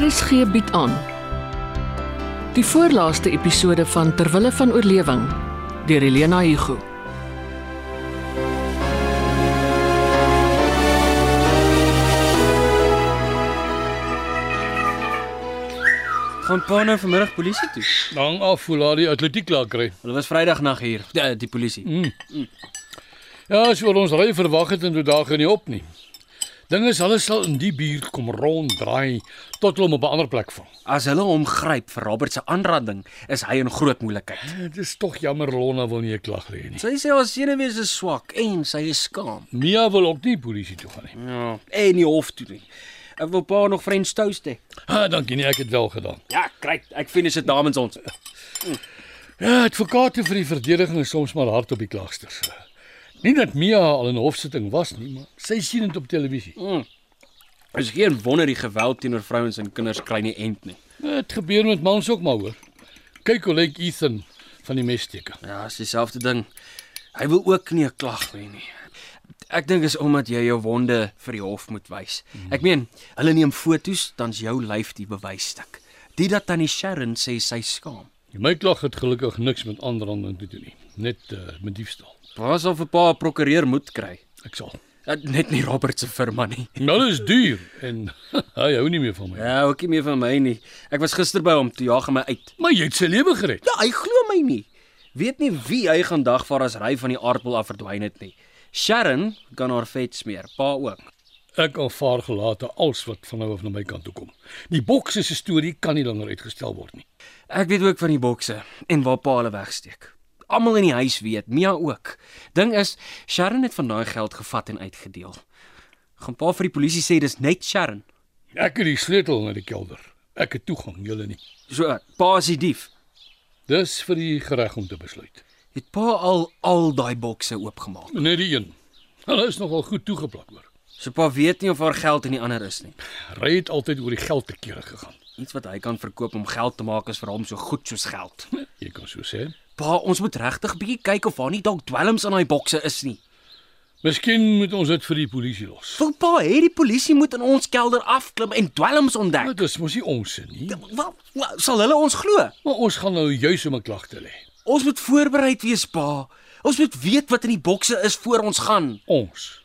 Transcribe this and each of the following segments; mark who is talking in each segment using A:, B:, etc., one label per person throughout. A: RSG bied aan die voorlaaste episode van Terwille van oorlewing deur Helena Hugo.
B: Gaan pa nou vanmiddag polisie toe.
C: Hang af hoe laat die atletiek klaar kry.
B: Hulle was Vrydag nag hier, die, die polisie.
C: Ja, as oor ons ry verwag het en toe daag nie op nie. Ding is hulle sal in die buurt kom ronddraai tot hulle hom op 'n ander plek vang.
B: As hulle hom gryp vir Robert se aanranding, is hy in groot moeilikheid.
C: Dit is tog jammer Lona wil nie 'n klag lê
B: Hmm.
C: nie.
B: Sy sê haar senuwees is swak en sy is skaam.
C: Mia wil ook nie polisie toe gaan nie.
B: Ja, en nie hof toe nie. Ek wil pa nog French toast hê.
C: Ha, dankie nie, ek het wel gedaan.
B: Ja, kry, ek finish dit namens ons.
C: Ja, advokate vir die verdediging is soms maar hard op die klagsters. Nie dat Mia al in hofsitting was nie, maar sy sien dit op televisie.
B: Is geen wonder die geweld teenoor vrouens en kinders kry nie end nie.
C: Dit gebeur met mans ook maar hoor. Kyk hoe lyk Ethan van die messteker.
B: Ja, is dieselfde ding. Hy wil ook nie 'n klag lê nie. Ek dink is omdat jy jou wonde vir die hof moet wys. Ek meen, hulle neem fotos, dan's jou lyf die bewysstuk. Dit dat tannie Sharon sê sy skaam.
C: My klag het gelukkig niks met aanranding te doen nie, net uh, met diefstal.
B: Pa sal vir pa 'n prokureur moet kry.
C: Ek sal.
B: Dat Ja, net nie Robert se firma nie.
C: Nou is duur en hy hou nie meer van my.
B: Ja, ook nie meer van my nie. Ek was gister by hom, toe jaag hy my uit.
C: Maar jy het sy lewe gered.
B: Ja, hy glo my nie. Weet nie wie hy gaan dagvaar as hy van die aardbol af verdwyn het nie. Sharon kan haar vet smeer, pa ook.
C: Ek aanvaar gelate als wat van nou af na my kant toe kom. Die bokse se storie kan nie langer uitgestel word nie.
B: Ek weet ook van die bokse en waar pa hulle wegsteek. Almal in die huis weet, Mia ook. Ding is, Sharon het van daai geld gevat en uitgedeel. Gaan pa vir die polisie sê dis net Sharon.
C: Ek het die sleutel na die kelder. Ek het toegang, julle nie.
B: So, pa is die dief.
C: Dis vir die reg om te besluit.
B: Het pa al al daai bokse oopgemaak.
C: Net die een. Hulle is nogal goed toegeplak hoor.
B: So pa weet nie of haar geld in die ander is nie.
C: Ry het altyd oor die geld te kere gegaan.
B: Iets wat hy kan verkoop om geld te maak is vir hom so goed soos geld.
C: Jy kan so sê.
B: Pa, ons moet regtig bietjie kyk of daar nie dalk dwelms in daai bokse is nie.
C: Miskien moet ons dit vir die polisie los.
B: Wil pa hê die polisie moet in ons kelder afklim en dwelms ontdek?
C: Dit is mos nie ons se nie.
B: Wat, wat sal hulle ons glo?
C: Maar ons gaan nou juis om 'n klag te lê.
B: Ons moet voorbereid wees, pa. Ons moet weet wat in die bokse is voor ons gaan.
C: Ons.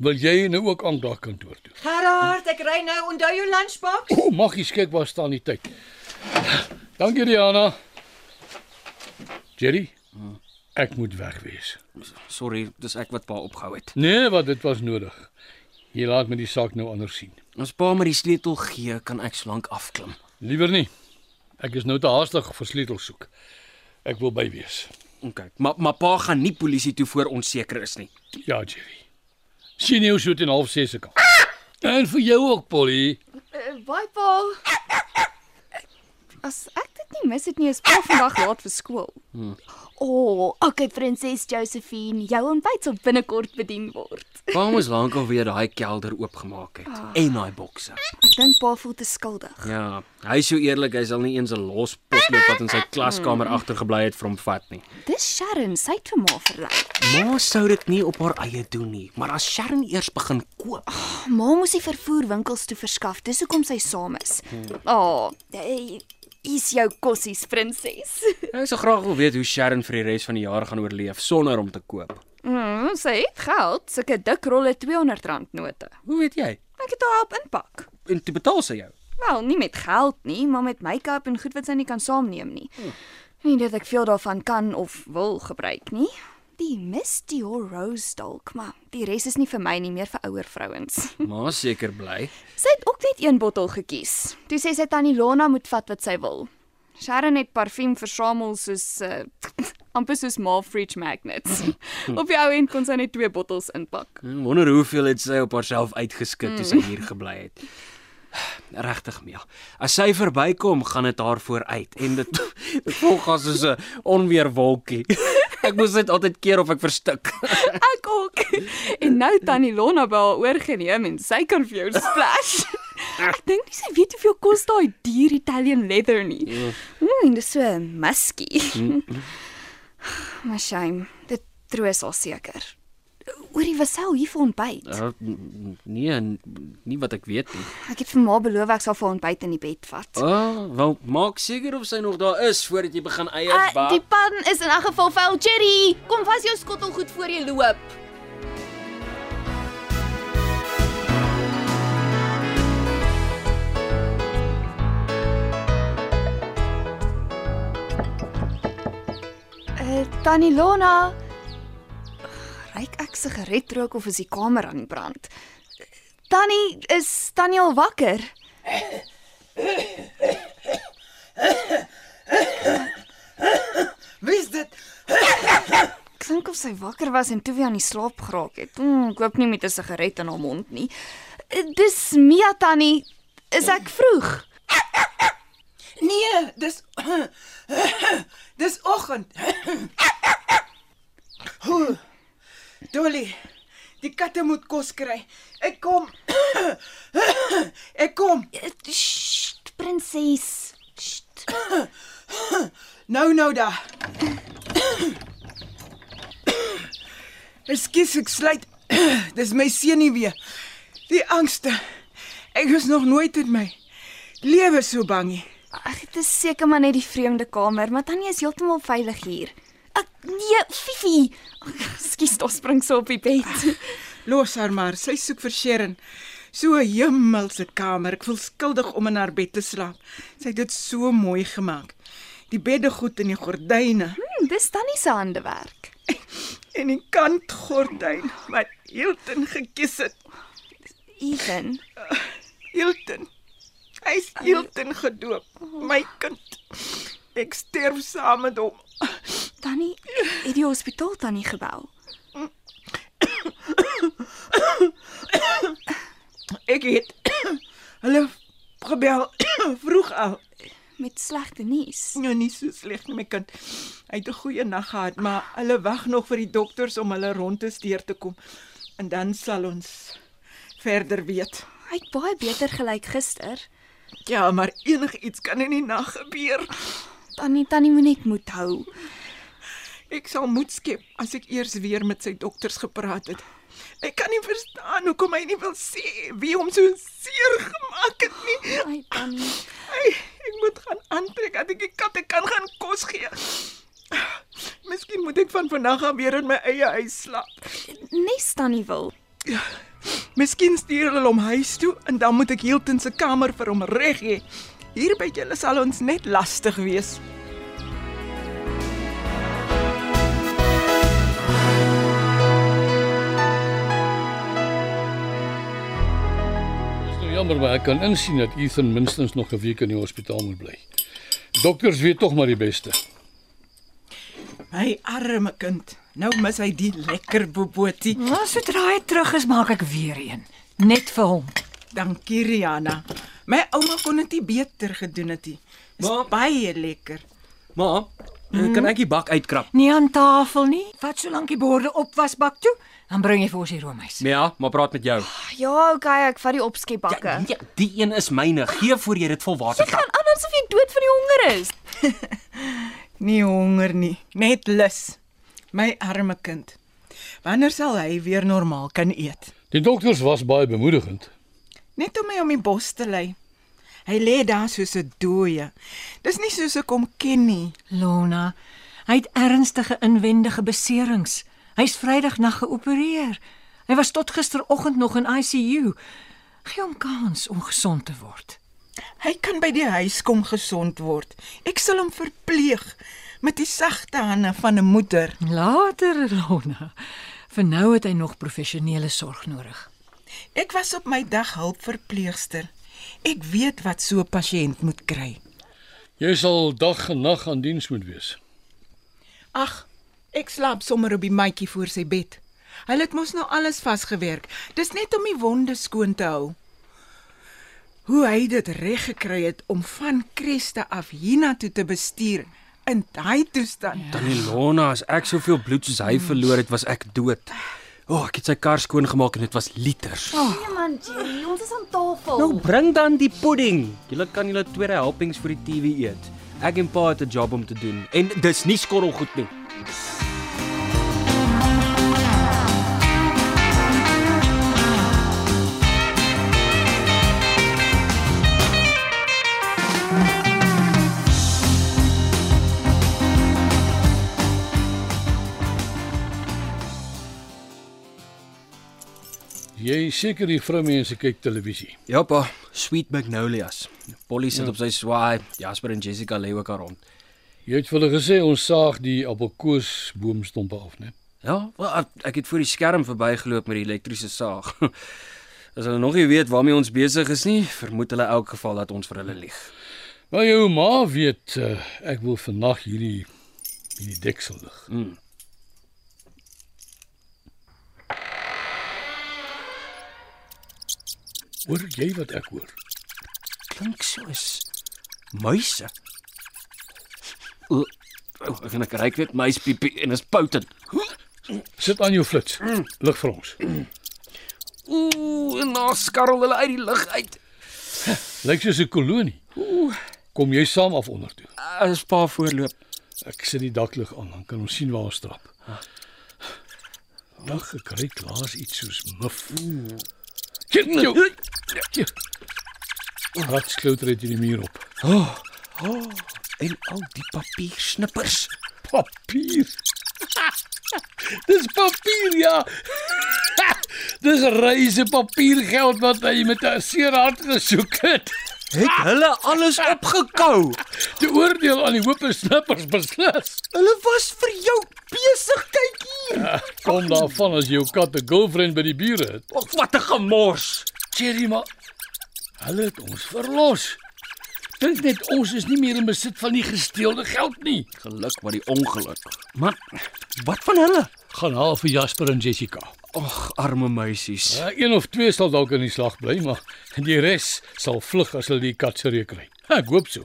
C: Wil jy nou ook aanklaagkantoor toe?
D: Gerard, ek ry nou. Onthou jou lunchbox?
C: O, mag jy kyk waar staan die tyd. Dankie Diana. Jerry, ek moet weg wees.
B: Sorry, dis ek wat pa opgehou het.
C: Nee, wat dit was nodig. Jy laat my die saak nou anders sien.
B: As pa my die sleutel gee, kan ek slank afklim.
C: Liewer nie. Ek is nou te haastig vir sleutels soek. Ek wil by wees.
B: OK, maar maar pa gaan nie polisie toe voor ons seker is nie.
C: Ja, Jerry. Sien jou so teen 06:30 se kant. En vir jou ook, Polly.
D: Uh, bye, Paul.
E: As ek dit nie mis het nie, is pa vandag laat vir skool.
F: O, oh, okay prinses Josephine, jou ontbyt sal binnekort bedien word.
B: Pa moes lankal weer daai kelder oopgemaak het en daai bokse.
E: Ek dink pa voel te skuldig.
B: Ja, hy is so eerlik, hy sal nie eens 'n los potlood wat in sy klaskamer agtergebly het vir hom vat nie.
E: Dis Sharon, sy het vir ma verlei.
B: Ma sou dit nie op haar eie doen nie, maar as Sharon eers begin koop,
E: Ma moes die vervoerwinkels toe verskaf, dis hoekom sy saam is.
F: O, oh, hey, is jou kossies prinses.
B: Ek sou graag wil weet hoe Sharon vir die res van die jaar gaan oorleef sonder om te koop.
E: Mm, sy het geld, sulke dik rolle R200 note.
B: Hoe weet jy?
E: Ek het haar help inpak.
B: En toe betaal sy jou.
E: Wel, nie met geld nie, maar met make-up en goed wat sy nie kan saamneem nie. Nie dat ek veel daarvan kan of wil gebruik nie.
F: Die Misty Rose dalk, maar
E: Die res is nie vir my nie, meer vir ouer vrouens.
B: Ma seker bly.
E: Sy het ook net een bottel gekies. Toe sê sy tannie Lana moet vat wat sy wil. Sharon het parfuum versamel soos uh, amper soos ma fridge magnets. Op die ou end kon sy net twee bottels inpak.
B: Ek wonder hoeveel het sy op haarself uitgeskit toe sy hier gebly het. Regtig, Mia. As sy verbykom, gaan dit haar vooruit en dit dit volg haar soos 'n onweerwolkie. Ek moes dit altyd keer of ek verstik.
E: Ek ook. En nou tannie Lana by haar oorgeneem en sy kan vir jou splash. Ek dink nie sy weet hoeveel kos daai duur Italian leather nie. Mm, dis so muskie. Maar shame, dit troos haar seker. Oor die wasel hier vir ontbyt.
B: Uh, n- nee, n- nie wat ek weet nie.
E: Ek het vir ma beloof ek sal vir ontbyt in die bed vat.
B: O, oh, wel maak seker of sy nog daar is voordat jy begin eiers
F: Ah,
B: bak.
F: die pan is in 'n geval vuil, Cherry. Kom vas jou skottel goed voor jy loop.
E: Uh, Tannie Lona. Ryk ek sigaretrook of is die kamer aan die brand? Tannie, is Tannie al wakker?
G: Wie's dit?
E: Klink of sy wakker was en toe weer aan die slaap geraak het. Mm, ek hoop nie met 'n sigaret in haar mond nie. Eh, Dis Mia Tannie. Is ek vroeg?
G: Nee, dis Dis oggend. Hoe? Dolly, die katte moet kos kry. Ek kom. Ek kom.
E: Eh,
F: Sst, prinses. Sst.
G: Nou nou da. Ekskuus, ek sluit. Dis my seun nie weer. Die angste. Ek was nog nooit in my lewe so bang nie.
E: Ag, dit is seker maar net die vreemde kamer, maar Tannie is heeltemal veilig hier.
F: Ek nee, Fifi.
E: Ekskuus, daar spring sy op die bed.
G: Los haar maar, sy soek vir Sherin. So 'n hemelse kamer. Ek voel skuldig om in haar bed te slaap. Sy het dit so mooi gemaak. Die beddegoed en die gordyne
E: Hm, dis Tannie se handewerk.
G: en die kantgordyn wat Hilton gekies het.
E: Even.
G: Hilton. Hy's Hilton gedoop. My kind. Ek sterf saam met hom.
E: Tannie het die hospitaal tannie gebel.
G: Ek het hulle gebel vroeg al.
E: met slegte nuus.
G: Nou nie so sleg nie my kind. Hy het 'n goeie nag gehad, maar hulle wag nog vir die dokters om hulle rondes deur te kom. En dan sal ons verder weet.
E: Hy het baie beter gelyk gister.
G: Ja, maar enigiets kan in die nag gebeur.
E: Tannie tannie moet net moed hou.
G: Ek sal moed skep as ek eers weer met sy dokters gepraat het. Ek kan nie verstaan hoekom hy nie wil sê wie hom so seer gemaak het nie.
E: Ai tannie.
G: Ai, ek moet gaan aantrek dat ek die katte kan gaan kos gee. Miskien moet ek van vandag af weer in my eie huis slaap.
E: Nes tannie wil.
G: Miskien stuur hulle hom huis toe en dan moet ek Hilton se kamer vir hom reg hê. Hier by julle sal ons net lastig wees.
C: Dis nou jammer maar ek kan insien dat Ethan minstens nog 'n week in die hospitaal moet bly. Dokters weet tog maar die beste.
G: My arme kind. Nou mis hy die lekker bobotie.
D: Maar Nou, sodra hy terug is, maak ek weer een, net vir hom.
G: Dankie Rihanna. My ouma kon dit nie beter gedoen het nie. Dis
B: Maar-
G: baie lekker.
B: Ma, mm. kan ek die bak uitkrap?
D: Nie aan tafel nie. Vat so lank die borde op wasbak toe, dan bring jy vir ons die roomys.
B: Ja, maar praat met jou.
E: Ja, okay, ek vat die opskepbakke. Ja,
B: Ja, die een is myne. Gee voor jy dit vol water kap.
E: Anders of jy dood van die honger is.
G: Nie honger nie, net lus. My arme kind. Wanneer sal hy weer normaal kan eet?
C: Die dokters was baie bemoedigend.
G: Net om my om die bos te lei. Hy lê daar soos 'n dooie. Dis nie soos ek hom ken nie.
D: Lona, hy het ernstige inwendige beserings. Hy's Vrydagnag geopereer. Hy was tot gisteroggend nog in ICU. Gee hom kans om gesond te word.
G: Hy kan by die huis kom gesond word. Ek sal hom verpleeg met die sagte hande van 'n moeder.
D: Later, Lona. Vir nou het hy nog professionele sorg nodig.
G: Ek was op my dag hulpverpleegster. Ek weet wat so 'n pasiënt moet kry.
C: Jy sal dag en nag aan diens moet wees.
G: Ag, ek slaap sommer op die matjie voor sy bed. Hulle het mos nou alles vasgewerk. Dis net om die wonde skoon te hou. Hoe hy dit reg gekry het om van Kreste af hiernatoe te bestuur in daai toestand.
B: Tannie Lona, as ek soveel bloed soos
F: Mm.
B: hy verloor het, was ek dood. O, oh, ek het sy kar skoon gemaak en dit was liters. Oh.
F: Nee man, Cherry, ons is aan tafel.
B: Nou bring dan die pudding. Julle kan julle tweede helpings vir die TV eet. Ek en pa het 'n job om te doen en dis nie skorrelgoed nie.
C: Jy seker die vroumense kyk televisie.
B: Ja pa, Sweet Magnolias. Polly sit ja. op sy swaai. Jasper en Jessica lê ook daar rond.
C: Jy het vir hulle gesê ons saag die appelkoosboomstompe af, né?
B: Ja, wel, ek- ek het voor die skerm verbygeloop met die elektriese saag. As hulle nog nie weet waarmee ons besig is nie, vermoed hulle in elk geval dat ons vir hulle lieg.
C: Maar jou ma weet uh, ek wil vandag hierdie hierdie deksel lig. Hoor jy wat ek hoor?
B: Klink soos muise. O, o, ek vind ek ryk net muispiepie en is potent.
C: Sit aan jou flits. Lig vir ons.
B: Ooh, en nou skarrel hulle uit die lug uit.
C: Lyk soos 'n kolonie. Kom jy saam af onder toe.
B: As pa voorloop.
C: Ek sit die daklig aan, dan kan ons sien waar ons stap. Dag gekry klaas iets soos muf. Kyk jou. Wat sklouter het jy die muur op?
B: En al die papiersnippers.
C: Papier. Dis papier ja. Dis reise papiergeld wat hy met 'n seer hart gesoek het.
B: Het hulle alles opgekou.
C: Die oordeel aan die hoop snippers beslis.
B: Hulle was vir jou besig kyk hier.
C: Kom daarvan as jy jou kat 'n girlfriend by die bure het.
B: Ag, wat 'n gemors.
C: Cherry maar hulle het ons verlos. Dink net ons is nie meer in besit van die gesteelde geld nie.
B: Geluk maar die ongeluk. Maar wat van hulle?
C: Gaan haal vir Jasper en Jessica.
B: Ag, arme meisies.
C: Ja, een of twee sal dalk in die slag bly, maar die res sal vlug as hulle die kat se reuk kry. Ek hoop so.